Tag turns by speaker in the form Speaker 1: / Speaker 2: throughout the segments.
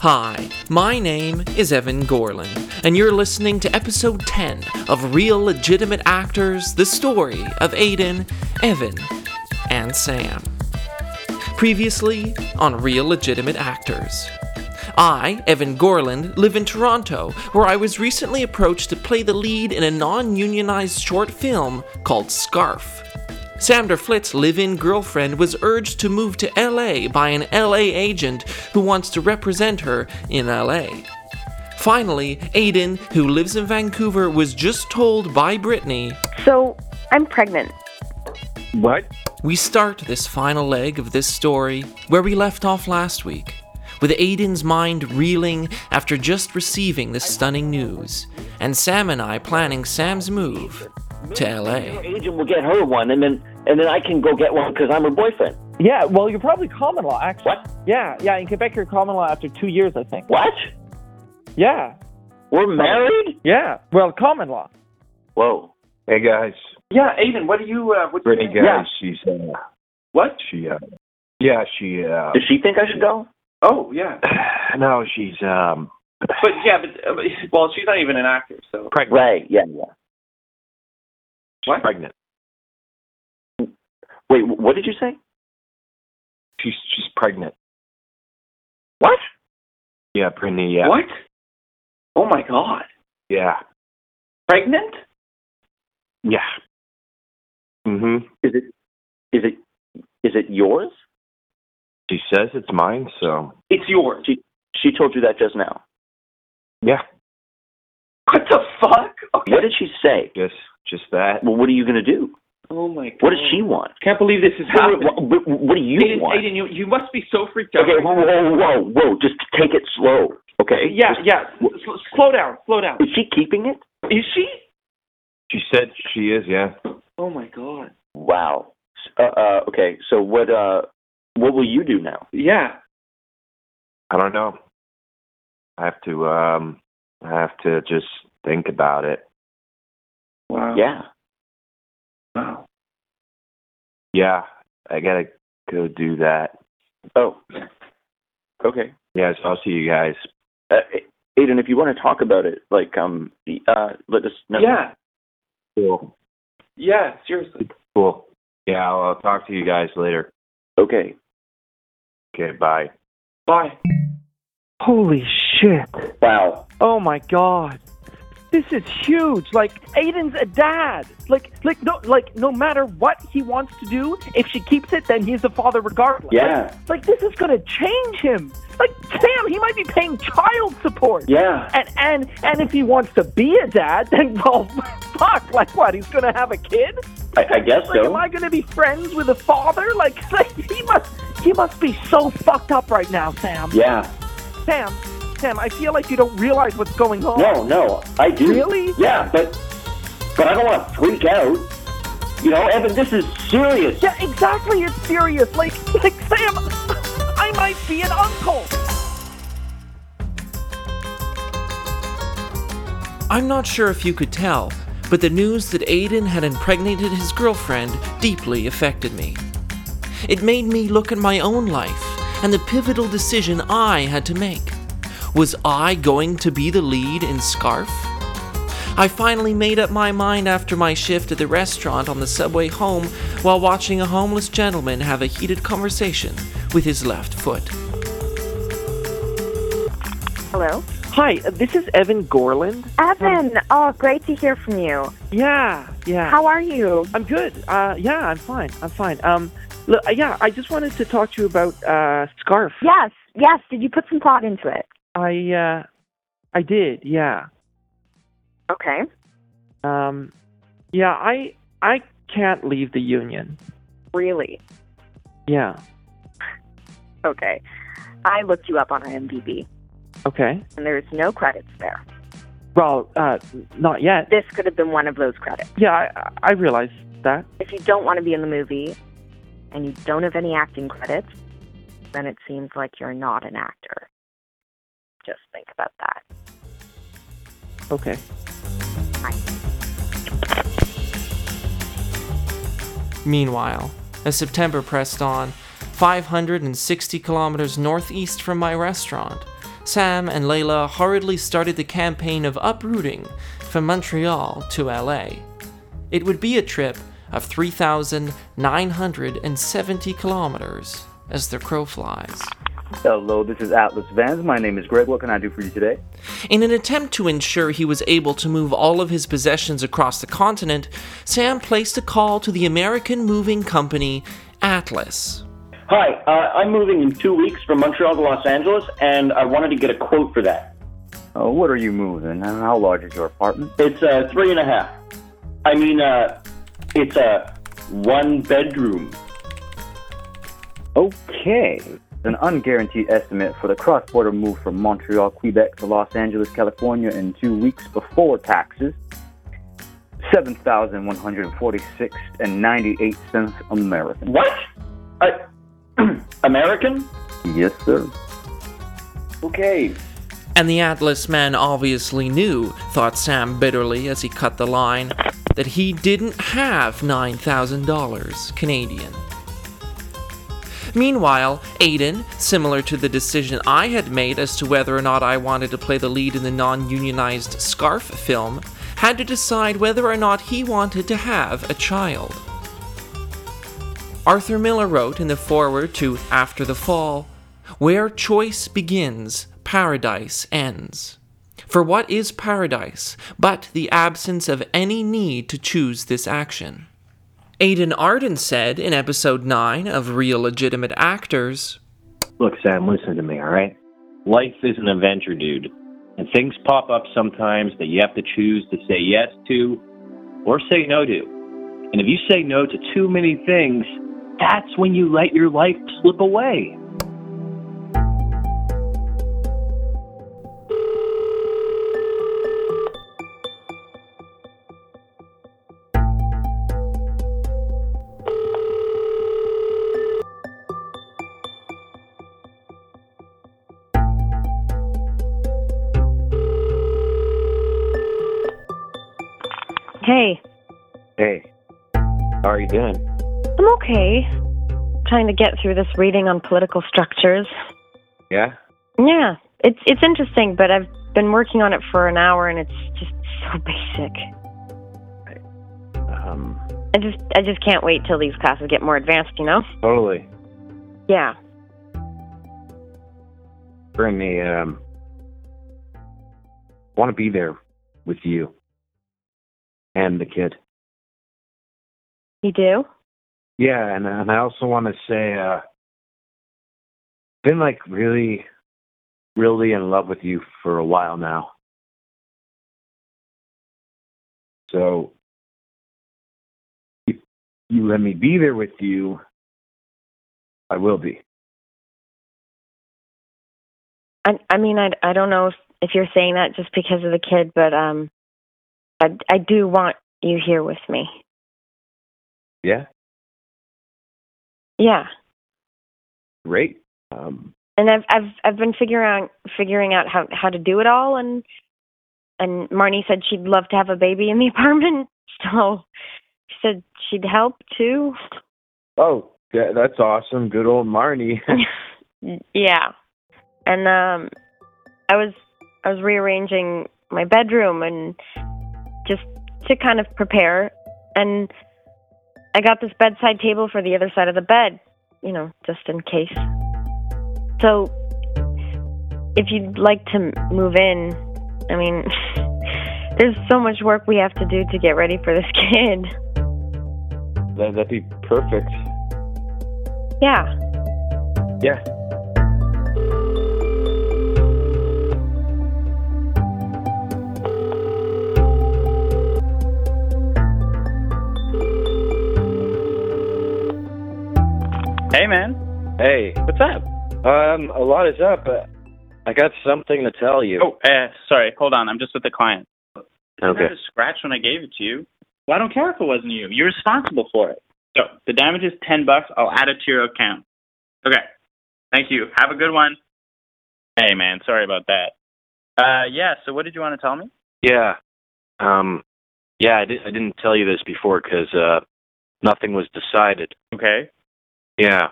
Speaker 1: Hi, my name is Evan Gorland, and you're listening to episode 10 of Real Legitimate Actors The Story of Aiden, Evan, and Sam. Previously on Real Legitimate Actors. I, Evan Gorland, live in Toronto, where I was recently approached to play the lead in a non unionized short film called Scarf. Sam Derflitz's live in girlfriend was urged to move to LA by an LA agent who wants to represent her in LA. Finally, Aiden, who lives in Vancouver, was just told by Brittany
Speaker 2: So, I'm pregnant.
Speaker 3: What?
Speaker 1: We start this final leg of this story where we left off last week, with Aiden's mind reeling after just receiving this stunning news, and Sam and I planning Sam's move to
Speaker 3: Your
Speaker 1: LA.
Speaker 3: agent will get her one, and then and then I can go get one because I'm her boyfriend.
Speaker 4: Yeah, well, you're probably common law, actually.
Speaker 3: What?
Speaker 4: Yeah, yeah, in Quebec, you're common law after two years, I think.
Speaker 3: What?
Speaker 4: Yeah,
Speaker 3: We're married?
Speaker 4: yeah. Well, common law.
Speaker 3: Whoa.
Speaker 5: Hey guys,
Speaker 6: Yeah, Aiden, what do you? Uh, what
Speaker 5: Brittany guys,
Speaker 3: Yeah.
Speaker 5: she's uh,
Speaker 6: What?
Speaker 5: she uh, yeah she uh,
Speaker 3: Does she think I should go?
Speaker 6: Oh, yeah.
Speaker 5: no she's um
Speaker 6: But yeah, but uh, well, she's not even an actor, so
Speaker 5: pregnant.
Speaker 3: Right. Yeah. Yeah.
Speaker 5: She's
Speaker 6: What?
Speaker 5: pregnant.
Speaker 3: Wait. wh- What did you say?
Speaker 5: She's she's pregnant.
Speaker 3: What?
Speaker 5: Yeah, Brittany. Yeah,
Speaker 6: what? Oh my God,
Speaker 5: yeah,
Speaker 6: pregnant?
Speaker 5: yeah. Mhm.
Speaker 3: Is it? Is it? Is it yours?
Speaker 5: She says it's mine, so
Speaker 6: It's yours.
Speaker 3: She she told you that just now.
Speaker 5: yeah,
Speaker 6: What the fuck? Okay.
Speaker 3: What did she say?
Speaker 5: just just that.
Speaker 3: Well, what are you gonna do?
Speaker 6: oh my God.
Speaker 3: What does she want?
Speaker 6: Can't believe this is
Speaker 3: What,
Speaker 6: happening.
Speaker 3: what, what do you
Speaker 6: Aiden,
Speaker 3: want?
Speaker 6: Aiden, you you must be so freaked out.
Speaker 3: Okay. Whoa. Whoa. Whoa. Whoa. Just take it slow. Okay.
Speaker 6: Yeah,
Speaker 3: Just-
Speaker 6: yeah. S- s- slow down, slow down.
Speaker 3: Is she keeping it?
Speaker 6: Is she?
Speaker 5: She said she is. Yeah.
Speaker 6: Oh my God.
Speaker 3: Wow. Uh, uh, okay. So what? Uh, what will you do now?
Speaker 6: Yeah.
Speaker 5: I don't know. I have to um I have to just think about it.
Speaker 4: Oh.
Speaker 6: Wow.
Speaker 3: Yeah.
Speaker 6: Wow.
Speaker 5: Yeah, I gotta go do that.
Speaker 3: Oh. Okay.
Speaker 5: Yeah, so I'll see you guys.
Speaker 3: Uh, Aiden, if you want to talk about it, like, um, uh, let us know.
Speaker 6: Yeah.
Speaker 5: Cool.
Speaker 6: Yeah. Seriously.
Speaker 5: Cool. Yeah, I'll, I'll talk to you guys later.
Speaker 3: Okay.
Speaker 5: Okay, bye.
Speaker 6: Bye.
Speaker 4: Holy shit.
Speaker 3: Wow.
Speaker 4: Oh my god. This is huge. Like Aiden's a dad. Like like no like no matter what he wants to do, if she keeps it then he's the father regardless.
Speaker 3: Yeah.
Speaker 4: Like this is going to change him. Like Sam, he might be paying child support.
Speaker 3: Yeah.
Speaker 4: And and and if he wants to be a dad, then well, fuck. Like what? He's gonna have a kid?
Speaker 3: I, I guess
Speaker 4: Like,
Speaker 3: so.
Speaker 4: am I gonna be friends with a father? Like, like he must he must be so fucked up right now, Sam.
Speaker 3: yeah.
Speaker 4: Sam, Sam, I feel like you don't realize what's going on.
Speaker 3: No, no. I do.
Speaker 4: Really?
Speaker 3: Yeah, but, but I don't want to freak out. You know, Evan, this is serious.
Speaker 4: Yeah, exactly. It's serious. Like, like Sam, I might be an uncle.
Speaker 1: I'm not sure if you could tell, but the news that Aiden had impregnated his girlfriend deeply affected me. It made me look at my own life and the pivotal decision I had to make. Was I going to be the lead in Scarf? I finally made up my mind after my shift at the restaurant on the subway home while watching a homeless gentleman have a heated conversation with his left foot.
Speaker 2: Hello?
Speaker 4: Hi, uh, this is Evan Gorland.
Speaker 2: Evan, oh, great to hear from you.
Speaker 4: Yeah, yeah.
Speaker 2: How are you?
Speaker 4: I'm good. Uh, yeah, I'm fine. I'm fine. Um, look, uh, yeah, I just wanted to talk to you about uh, scarf.
Speaker 2: Yes, yes. Did you put some thought into it?
Speaker 4: I, uh, I did. Yeah.
Speaker 2: Okay.
Speaker 4: Um, yeah. I, I can't leave the union.
Speaker 2: Really?
Speaker 4: Yeah.
Speaker 2: Okay. I looked you up on IMDb,
Speaker 4: Okay.
Speaker 2: and there's no credits there.
Speaker 4: Well, uh, not yet.
Speaker 2: This could have been one of those credits.
Speaker 4: Yeah, I, I realize that.
Speaker 2: If you don't want to be in the movie, and you don't have any acting credits, then it seems like you're not an actor. Just think about that.
Speaker 4: Okay.
Speaker 1: Meanwhile, as September pressed on, 560 kilometers northeast from my restaurant, Sam and Layla hurriedly started the campaign of uprooting from Montreal to LA. It would be a trip of 3,970 kilometers as the crow flies.
Speaker 7: Hello, this is Atlas Vans. My name is Greg. What can I do for you today?
Speaker 1: In an attempt to ensure he was able to move all of his possessions across the continent, Sam placed a call to the American moving company Atlas.
Speaker 3: Hi, uh, I'm moving in two weeks from Montreal to Los Angeles, and I wanted to get a quote for that.
Speaker 7: Uh, what are you moving? Uh, How large is your apartment?
Speaker 3: It's uh, three and a half. I mean, uh, it's a one bedroom.
Speaker 7: Okay. An unguaranteed estimate for the cross border move from Montreal, Quebec to Los Angeles, California in two weeks before taxes. 7,146 and 98 cents American.
Speaker 3: What? I, American?
Speaker 7: Yes, sir.
Speaker 3: Okay.
Speaker 1: And the Atlas man obviously knew, thought Sam bitterly as he cut the line, that he didn't have $9,000 Canadian. Meanwhile, Aiden, similar to the decision I had made as to whether or not I wanted to play the lead in the non unionized Scarf film, had to decide whether or not he wanted to have a child. Arthur Miller wrote in the foreword to After the Fall Where choice begins, paradise ends. For what is paradise but the absence of any need to choose this action? Aidan Arden said in episode 9 of Real Legitimate Actors
Speaker 8: Look, Sam, listen to me, all right? Life is an adventure, dude. And things pop up sometimes that you have to choose to say yes to or say no to. And if you say no to too many things, that's when you let your life slip away.
Speaker 9: Hey,
Speaker 5: Hey, how are you doing?
Speaker 9: I'm okay. Trying to get through this reading on political structures.
Speaker 5: Yeah?
Speaker 9: Yeah, it's it's interesting, but I've been working on it for an hour and it's just so basic.
Speaker 5: Um,
Speaker 9: I just I just can't wait till these classes get more advanced, you know?
Speaker 5: totally.
Speaker 9: Yeah.
Speaker 5: Bring me, um, want to be there with you and the kid.
Speaker 9: You do?
Speaker 5: Yeah, and and I also want to say, uh, been like really, really in love with you for a while now. So, if you let me be there with you, I will be.
Speaker 9: I I mean I I don't know if, if you're saying that just because of the kid, but um I I do want you here with me.
Speaker 5: Yeah,
Speaker 9: Yeah.
Speaker 5: great. Um,
Speaker 9: and I've I've I've been figuring out figuring out how how to do it all and and Marnie said she'd love to have a baby in the apartment, so she said she'd help too.
Speaker 5: oh, yeah, that's awesome. Good old Marnie.
Speaker 9: yeah. And um I was I was rearranging my bedroom and just to kind of prepare and I got this bedside table for the other side of the bed, you know, just in case. So if you'd like to m- move in, I mean, there's so much work we have to do to get ready for this kid.
Speaker 5: that, that'd be perfect.
Speaker 9: Yeah.
Speaker 5: Yeah.
Speaker 6: Hey, man.
Speaker 5: Hey,
Speaker 6: What's up?
Speaker 5: um, a lot is up. But I got something to tell you.
Speaker 6: Oh, uh, sorry. Hold on. I'm just with the client. I
Speaker 5: okay.
Speaker 6: had a scratch when I gave it to you. Well, I don't care if it wasn't you. You're responsible for it. So the damage is ten bucks. I'll add it to your account. Okay. Thank you. Have a good one. Hey man, sorry about that. Uh, yeah. So what did you want to tell me?
Speaker 8: Yeah. Um, yeah, I, di- I didn't tell you this before because uh, nothing was decided.
Speaker 6: Okay.
Speaker 8: Yeah.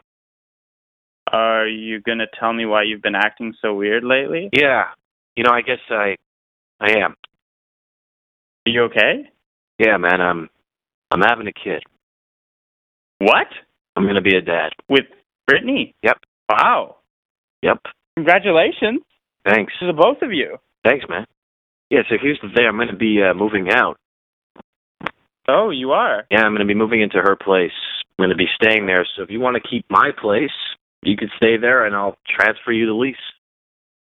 Speaker 6: Are you going to tell me why you've been acting so weird lately?
Speaker 5: Yeah. You know, I guess I I am.
Speaker 6: Are you okay?
Speaker 5: Yeah, man, I'm I'm having a kid.
Speaker 6: What?
Speaker 5: I'm going to be a dad.
Speaker 6: With Brittany?
Speaker 5: Yep.
Speaker 6: Wow.
Speaker 5: Yep.
Speaker 6: Congratulations
Speaker 5: Thanks.
Speaker 6: to the both of you.
Speaker 5: Thanks, man. Yeah, so here's the thing. I'm going to be uh, moving out.
Speaker 6: Oh, you are.
Speaker 5: Yeah, I'm going to be moving into her place. I'm going to be staying there. So if you want to keep my place, you could stay there and I'll transfer you the lease.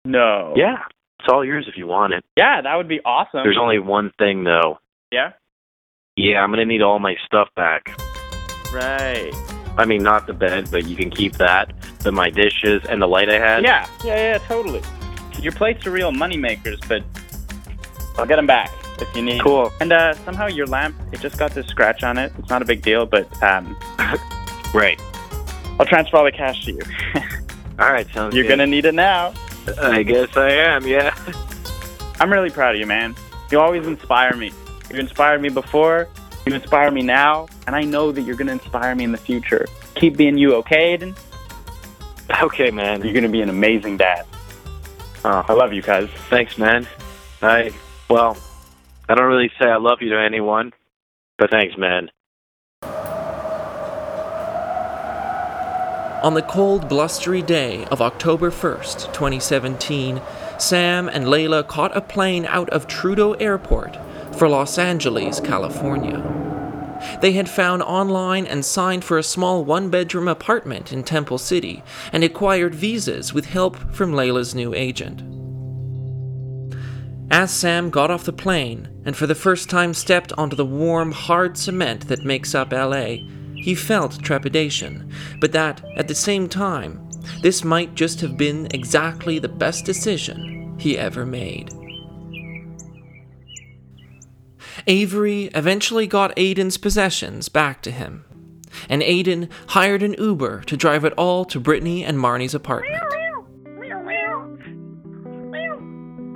Speaker 6: No.
Speaker 5: Yeah. It's all yours if you want it.
Speaker 6: Yeah, that would be awesome.
Speaker 5: There's only one thing though.
Speaker 6: Yeah?
Speaker 5: Yeah, I'm going to need all my stuff back.
Speaker 6: Right.
Speaker 5: I mean, not the bed, but you can keep that, the my dishes and the light I had.
Speaker 6: yeah, yeah, yeah, totally. Your plates are real moneymakers, but I'll get them back if you need.
Speaker 5: Cool.
Speaker 6: And uh, somehow your lamp, it just got this scratch on it. It's not a big deal, but um,
Speaker 5: Right.
Speaker 6: I'll transfer all the cash to you.
Speaker 5: All right, sounds
Speaker 6: You're going to need it now.
Speaker 5: going to I guess I am. Yeah.
Speaker 6: I'm really proud of you, man. You always inspire me. You inspired me before, you inspire me now, and I know that you're going to inspire me in the future. Keep being you, okay, Aiden?
Speaker 5: Okay, man. Uh,
Speaker 6: You're going to be an amazing dad. Oh, I love you, cuz.
Speaker 5: Thanks, man. I well, I don't really say I love you to anyone, but thanks, man.
Speaker 1: On the cold, blustery day of October 1st, 2017, Sam and Layla caught a plane out of Trudeau Airport for Los Angeles, California. They had found online and signed for a small one bedroom apartment in Temple City and acquired visas with help from Layla's new agent. As Sam got off the plane and for the first time stepped onto the warm, hard cement that makes up LA, he felt trepidation, but that, at the same time, this might just have been exactly the best decision he ever made. Avery eventually got Aiden's possessions back to him, and Aiden hired an Uber to drive it all to Brittany and Marnie's apartment.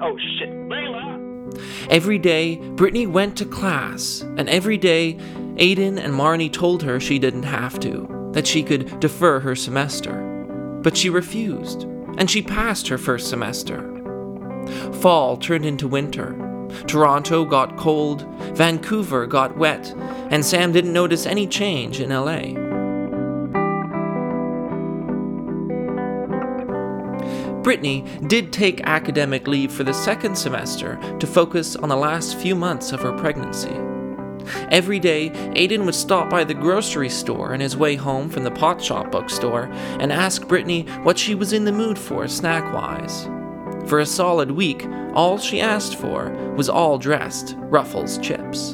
Speaker 10: Oh shit, Layla!
Speaker 1: Every day, Brittany went to class, and every day, Aiden and Marnie told her she didn't have to, that she could defer her semester. But she refused, and she passed her first semester. Fall turned into winter. Toronto got cold, Vancouver got wet, and Sam didn't notice any change in LA. Brittany did take academic leave for the second semester to focus on the last few months of her pregnancy. Every day, Aiden would stop by the grocery store on his way home from the pot shop bookstore and ask Brittany what she was in the mood for snack wise. For a solid week, all she asked for was all dressed Ruffles chips.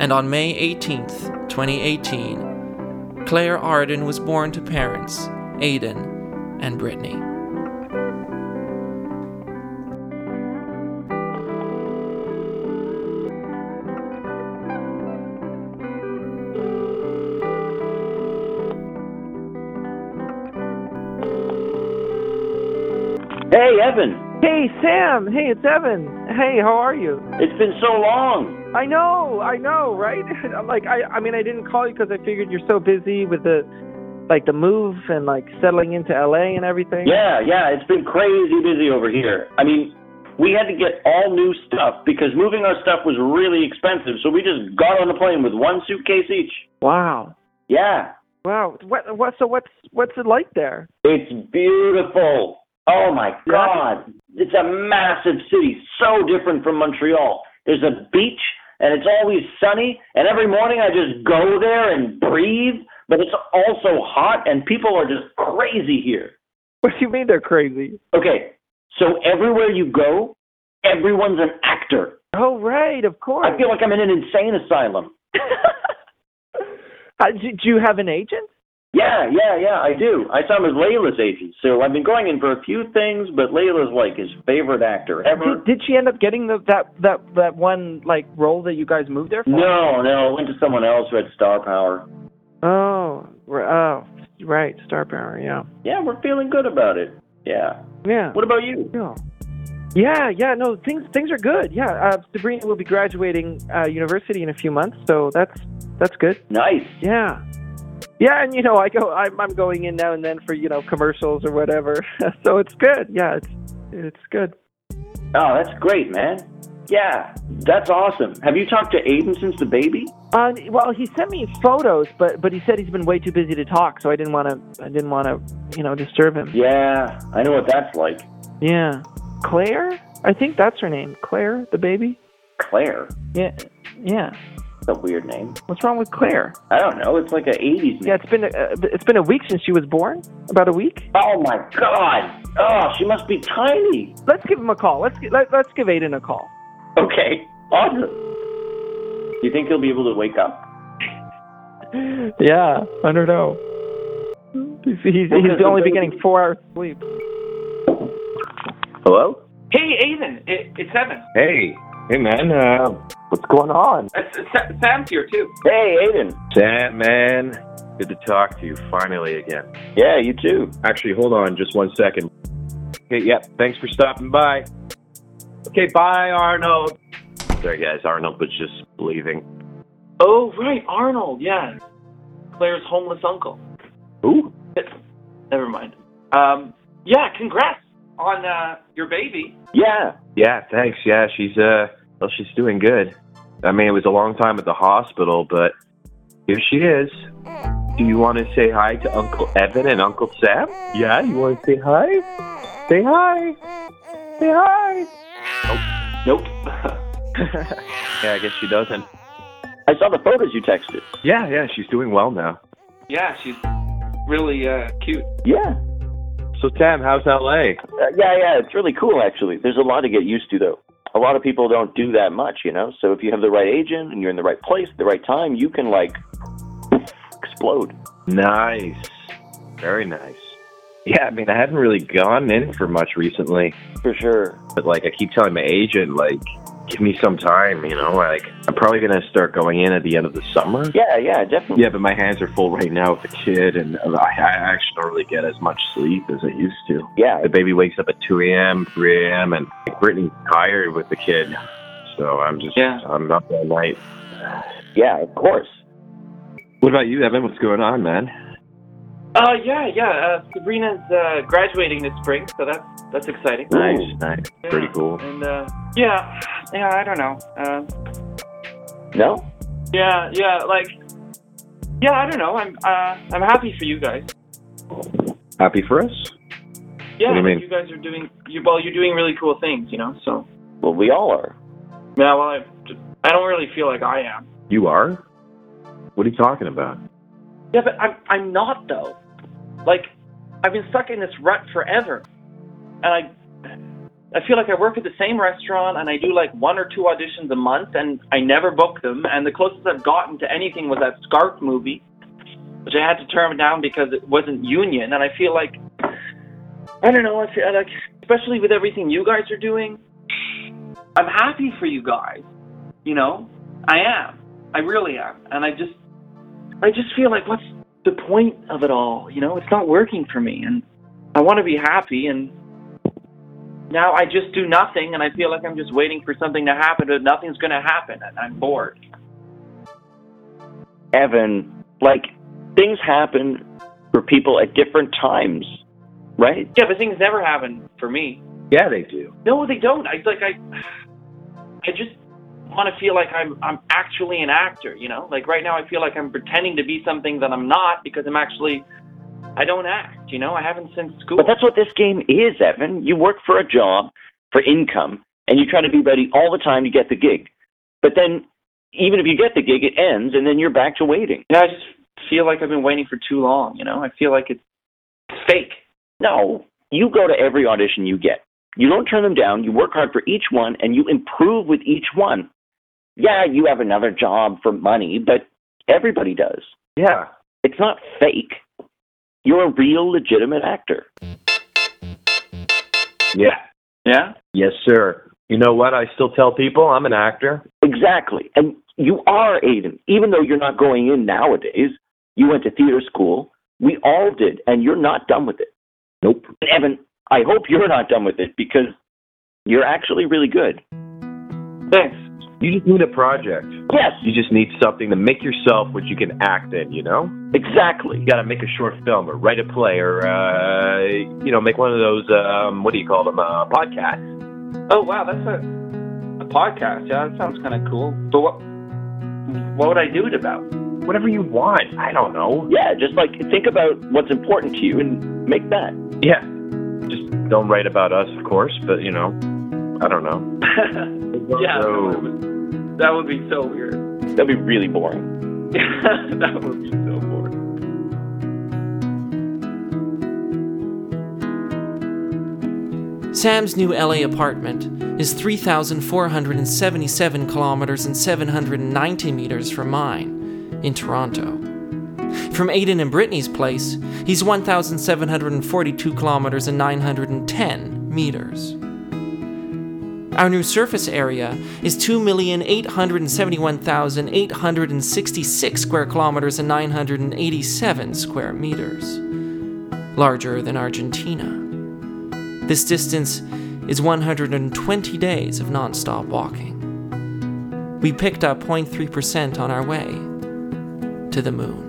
Speaker 1: And on May 18th, 2018, Claire Arden was born to parents, Aiden and Brittany.
Speaker 3: Hey, Evan.
Speaker 4: Hey Sam, hey it's Evan. Hey, how are you?
Speaker 3: It's been so long.
Speaker 4: I know, I know, right? like I, I mean, I didn't call you because I figured you're so busy with the, like the move and like settling into LA and everything.
Speaker 3: Yeah, yeah. It's been crazy busy over here. I mean, we had to get all new stuff because moving our stuff was really expensive. So we just got on the plane with one suitcase each.
Speaker 4: Wow.
Speaker 3: Yeah.
Speaker 4: Wow. What? What? So what's what's it like there?
Speaker 3: It's beautiful. Oh my God. It's a massive city, so different from Montreal. There's a beach and it's always sunny, and every morning I just go there and breathe, but it's also hot and people are just crazy here.
Speaker 4: What do you mean they're crazy?
Speaker 3: Okay, so everywhere you go, everyone's an actor.
Speaker 4: Oh right, of course.
Speaker 3: I feel like I'm in an insane asylum.
Speaker 4: Uh, do, do you have an agent?
Speaker 3: Yeah, yeah, yeah, I do. I saw him as Layla's agent, so I've been going in for a few things, but Layla's like his favorite actor ever.
Speaker 4: Did, did she end up getting the that that that one like role that you guys moved there for?
Speaker 3: No, no, it went to someone else who had star power.
Speaker 4: Oh. r- Oh. Right. Star Power. Yeah.
Speaker 3: Yeah, we're feeling good about it. Yeah.
Speaker 4: Yeah.
Speaker 3: What about you?
Speaker 4: Yeah. Yeah, yeah, no, things things are good. Yeah, uh, Sabrina will be graduating uh, university in a few months, so that's that's good.
Speaker 3: Nice.
Speaker 4: Yeah, Yeah, and you know, I go, I'm, I'm going in now and then for you know commercials or whatever. so it's good. Yeah, it's it's good.
Speaker 3: Oh, that's great, man. Yeah, that's awesome. Have you talked to Aiden since the baby?
Speaker 4: Uh, well, he sent me photos, but but he said he's been way too busy to talk, so I didn't want to I didn't want to you know disturb him.
Speaker 3: Yeah, I know what that's like.
Speaker 4: Yeah, Claire, I think that's her name, Claire, the baby.
Speaker 3: Claire.
Speaker 4: Yeah, yeah.
Speaker 3: That's a weird name.
Speaker 4: What's wrong with Claire?
Speaker 3: I don't know. It's like an 80s name.
Speaker 4: Yeah, it's been a, uh, it's been a week since she was born. About a week.
Speaker 3: Oh my god. Oh, she must be tiny.
Speaker 4: Let's give him a call. Let's gi- let, let's give Aiden a call.
Speaker 3: Okay. Awesome. Do you think he'll be able to wake up?
Speaker 4: Yeah, I don't know. He's he's, he's only been getting four hours sleep.
Speaker 5: Hello?
Speaker 10: Hey, Aiden, it, it's Evan.
Speaker 5: Hey. Hey, man. Uh, what's going on?
Speaker 10: It's, it's, Sa- Sam's here too.
Speaker 3: Hey, Aiden.
Speaker 5: Sam, man. Good to talk to you finally again.
Speaker 3: Yeah, you too.
Speaker 5: Actually, hold on just one second. Okay, yep. Thanks for stopping by. Okay, bye, Arnold. Sorry, guys. Arnold was just leaving.
Speaker 10: Oh, right, Arnold. Yeah, Claire's homeless uncle.
Speaker 5: Ooh.
Speaker 10: Never mind. Um, yeah, congrats on uh, your baby.
Speaker 3: Yeah.
Speaker 5: Yeah, thanks. Yeah, she's uh, well, she's doing good. I mean, it was a long time at the hospital, but here she is. Do you want to say hi to Uncle Evan and Uncle Sam? Yeah, you want to say hi? Say hi. Say hi.
Speaker 10: Nope.
Speaker 5: Yeah, I guess she doesn't.
Speaker 3: I saw the photos you texted.
Speaker 5: Yeah, yeah, she's doing well now.
Speaker 10: yeah, she's really uh, cute.
Speaker 3: Yeah.
Speaker 5: So Sam, how's LA?
Speaker 3: Uh, yeah, yeah, it's really cool actually. There's a lot to get used to though. A lot of people don't do that much, you know. So if you have the right agent and you're in the right place at the right time, you can like explode.
Speaker 5: Nice. Very nice. Yeah, I mean, I haven't really gone in for much recently,
Speaker 3: For sure.
Speaker 5: but like I keep telling my agent, like, give me some time, you know, like I'm probably gonna start going in at the end of the summer.
Speaker 3: Yeah, yeah, definitely.
Speaker 5: Yeah, but my hands are full right now with the kid, and I, I actually don't really get as much sleep as I used to.
Speaker 3: Yeah.
Speaker 5: The baby wakes up at 2 a.m., 3 a.m., and Brittany's tired with the kid, so I'm just
Speaker 10: Yeah.
Speaker 5: I'm up all night.
Speaker 3: Yeah, of course.
Speaker 5: What about you, Evan? What's going on, man?
Speaker 10: Uh, yeah, yeah. Uh, Sabrina's uh, graduating this spring, so that's that's exciting.
Speaker 5: Nice, nice,
Speaker 10: Yeah.
Speaker 5: pretty cool.
Speaker 10: And uh, yeah, yeah. I don't know. Uh,
Speaker 3: No?
Speaker 10: yeah, yeah. Like, yeah. I don't know. I'm uh, I'm happy for you guys.
Speaker 5: Happy for us?
Speaker 10: Yeah,
Speaker 5: What do you mean?
Speaker 10: you guys are doing you well. You're doing really cool things, you know. So
Speaker 3: Well, we all are.
Speaker 10: yeah, well, I I don't really feel like I am.
Speaker 5: You are? What are you talking about?
Speaker 10: Yeah, but I'm I'm not though. Like, I've been stuck in this rut forever, and I I feel like I work at the same restaurant and I do like one or two auditions a month, and I never book them. And the closest I've gotten to anything was that Scarf movie, which I had to turn down because it wasn't union. And I feel like I don't know. I feel like especially with everything you guys are doing, I'm happy for you guys. You know, I am. I really am, and I just I just feel like what's the point of it all? You know, it's not working for me and I want to be happy and now I just do nothing and I feel like I'm just waiting for something to happen but nothing's going to happen and I'm bored.
Speaker 3: Evan, like things happen for people at different times, right?
Speaker 10: Yeah, but things never happen for me.
Speaker 5: Yeah, they do.
Speaker 10: No, they don't. I like I I just want to feel like I'm I'm actually an actor, you know? Like right now I feel like I'm pretending to be something that I'm not because I'm actually I don't act, you know? I haven't since school.
Speaker 3: But that's what this game is, Evan. You work for a job, for income, and you try to be ready all the time to get the gig. But then, even if you get the gig, it ends, and then you're back to waiting.
Speaker 10: Yeah, I just feel like I've been waiting for too long. You know, I feel like it's fake.
Speaker 3: No, you go to every audition you get. You don't turn them down. You work hard for each one, and you improve with each one. Yeah, you have another job for money, but everybody does.
Speaker 5: Yeah.
Speaker 3: It's not fake. You're a real, legitimate actor.
Speaker 5: Yeah.
Speaker 10: Yeah.
Speaker 5: Yes, sir. You know what? I still tell people I'm an actor.
Speaker 3: Exactly. And you are Aiden. Even though you're not going in nowadays, you went to theater school. We all did, and you're not done with it.
Speaker 5: Nope.
Speaker 3: And Evan, I hope you're not done with it because you're actually really good.
Speaker 10: Thanks.
Speaker 5: You just need a project.
Speaker 3: Yes.
Speaker 5: You just need something to make yourself what you can act in, you know?
Speaker 3: Exactly.
Speaker 5: You gotta make a short film or write a play or, uh, you know, make one of those, um, what do you call them, uh, podcasts.
Speaker 10: Oh wow, that's a a podcast. Yeah, that sounds kind of cool. But what what would I do it about?
Speaker 5: Whatever you want. I don't know.
Speaker 3: Yeah, just like think about what's important to you and make that.
Speaker 5: Yeah. Just don't write about us, of course, but, you know, I don't know.
Speaker 10: yeah,
Speaker 5: So,
Speaker 10: that would be so weird.
Speaker 3: That'd be really boring.
Speaker 10: that would be so boring.
Speaker 1: Sam's new LA apartment is 3,477 kilometers and 790 meters from mine in Toronto. From Aiden and Brittany's place, he's 1,742 kilometers and 910 meters. Our new surface area is 2,871,866 square kilometers and 987 square meters, larger than Argentina. This distance is 120 days of nonstop walking. We picked up 0.3% on our way to the moon.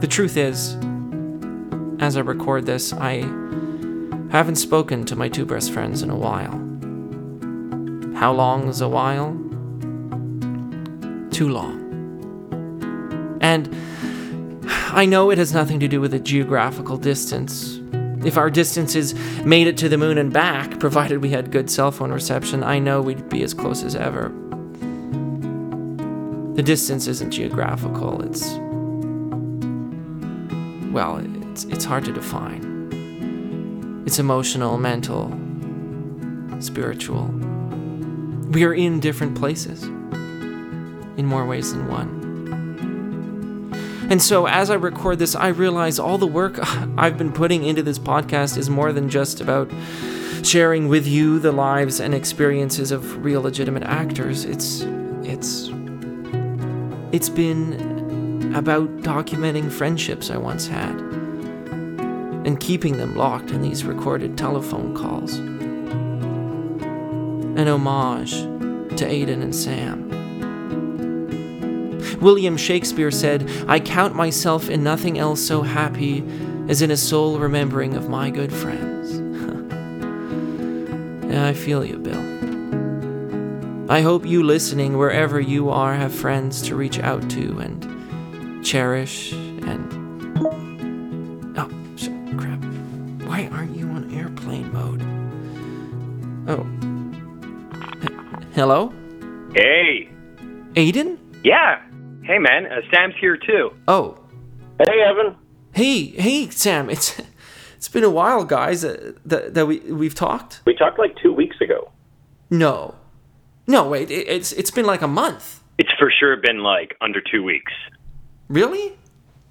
Speaker 1: The truth is, as I record this, I haven't spoken to my two best friends in a while. How long is a while? Too long. And I know it has nothing to do with the geographical distance. If our distances made it to the moon and back, provided we had good cell phone reception, I know we'd be as close as ever. The distance isn't geographical, it's. Well, it's, it's hard to define. It's emotional, mental, spiritual. We are in different places, in more ways than one. And so, as I record this, I realize all the work I've been putting into this podcast is more than just about sharing with you the lives and experiences of real legitimate actors. It's it's it's been about documenting friendships I once had and keeping them locked in these recorded telephone calls. An homage to Aiden and Sam. William Shakespeare said, I count myself in nothing else so happy as in a soul remembering of my good friends. yeah, I feel you, Bill. I hope you listening, wherever you are, have friends to reach out to and cherish and. Oh, sh- crap. Why aren't you on airplane mode? Oh. H- Hello?
Speaker 11: Hey.
Speaker 1: Aiden?
Speaker 11: Yeah. Hey, man. Uh, Sam's here too.
Speaker 1: Oh.
Speaker 3: Hey, Evan.
Speaker 1: Hey, hey, Sam. It's it's been a while, guys. Uh, that that we we've talked.
Speaker 11: We talked like two weeks ago.
Speaker 1: No, no. Wait, it, it's it's been like a month.
Speaker 11: It's for sure been like under two weeks.
Speaker 1: Really?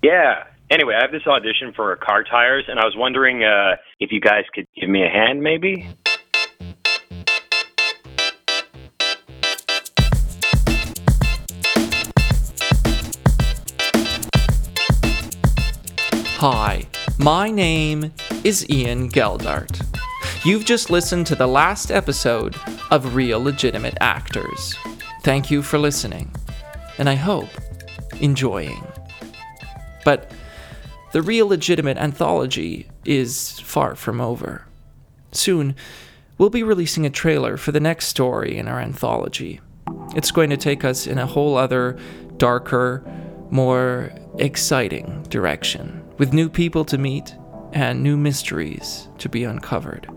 Speaker 11: Yeah. Anyway, I have this audition for car tires, and I was wondering uh, if you guys could give me a hand, maybe.
Speaker 1: Hi, my name is Ian Geldart. You've just listened to the last episode of Real Legitimate Actors. Thank you for listening, and I hope enjoying. But the Real Legitimate anthology is far from over. Soon, we'll be releasing a trailer for the next story in our anthology. It's going to take us in a whole other, darker, more exciting direction, with new people to meet and new mysteries to be uncovered.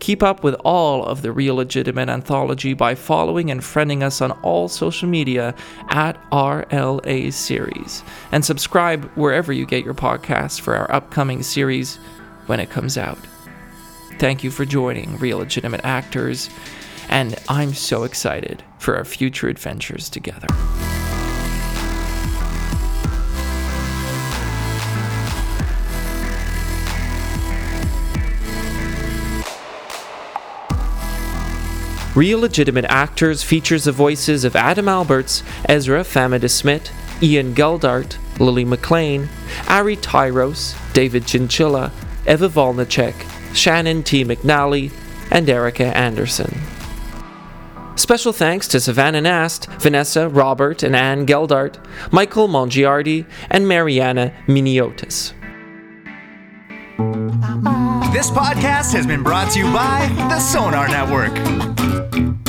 Speaker 1: Keep up with all of the Real Legitimate anthology by following and friending us on all social media at RLA Series, and subscribe wherever you get your podcasts for our upcoming series when it comes out. Thank you for joining Real Legitimate Actors, and I'm so excited for our future adventures together. Real Legitimate Actors features the voices of Adam Alberts, Ezra Famida Smith, Ian Geldart, Lily McLean, Ari Tyros, David Chinchilla, Eva Volnicek, Shannon T. McNally, and Erica Anderson. Special thanks to Savannah Nast, Vanessa, Robert, and Anne Geldart, Michael Mongiardi, and Mariana Miniotis.
Speaker 7: This podcast has been brought to you by the Sonar Network.